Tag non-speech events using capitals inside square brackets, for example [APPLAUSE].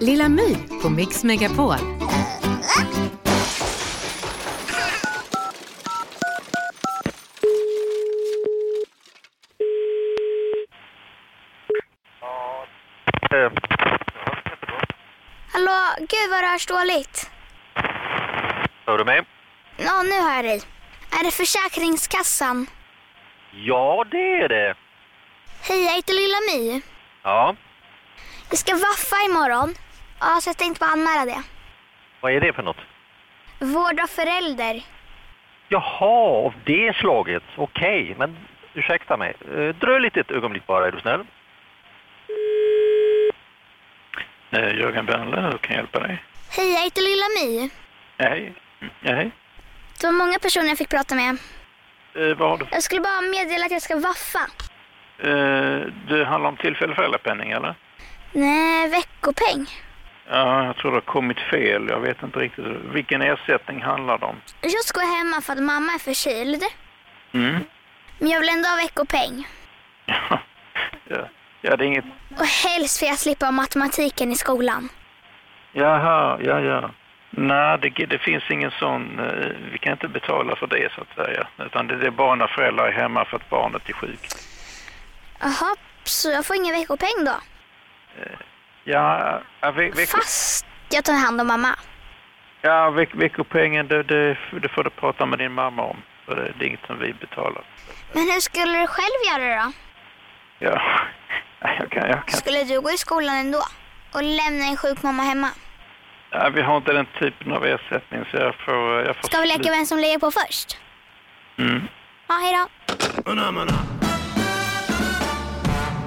Lilla My på Mix Megapol. Eh, Hallå, gud vad det hörs dåligt. Hör du mig? Ja, nu hör jag dig. Är det Försäkringskassan? Ja, det är det. Hej, jag heter Lilla My. Ja, Vi ska vaffa imorgon. Ja, så jag tänkte bara anmäla det. vad är det för något? Vård av förälder. Jaha, av det slaget. Okej, men ursäkta mig. Eh, Dröj lite ett ögonblick bara, är du snäll. Eh, Jörgen Bernlöv hur kan jag hjälpa dig. Hej, jag heter Lilla My. Nej, nej. Det var många personer jag fick prata med. Eh, vad har du? Jag skulle bara meddela att jag ska vaffa. Eh, det handlar om tillfällig föräldrapenning eller? Nej, veckopeng. Ja, jag tror det har kommit fel. Jag vet inte riktigt. Vilken ersättning handlar det om? Jag ska gå hemma för att mamma är förkyld. Mm. Men jag vill ändå ha veckopeng. [LAUGHS] Ja, ja, ja, det är inget... Och helst får jag slippa matematiken i skolan. Jaha, ja, ja. Nej, det, det finns ingen sån... eh, Vi kan inte betala för det så att säga. Utan det, det är bara när föräldrar är hemma för att barnet är sjukt. Jaha, så jag får ingen veckopeng då? Ja, ja, ve, ve, Fast jag tar hand om mamma. ja ve, veckopengen det, det, det får du prata med din mamma om. För det, det är inget som vi betalar. Men hur skulle du själv göra då? Ja, [LAUGHS] jag kan, jag kan. Skulle du gå i skolan ändå? Och lämna en sjuk mamma hemma? Ja, vi har inte den typen av ersättning så jag får... eh, Jag får Ska vi leka vem som lägger på först? Mm. Ja, hejdå.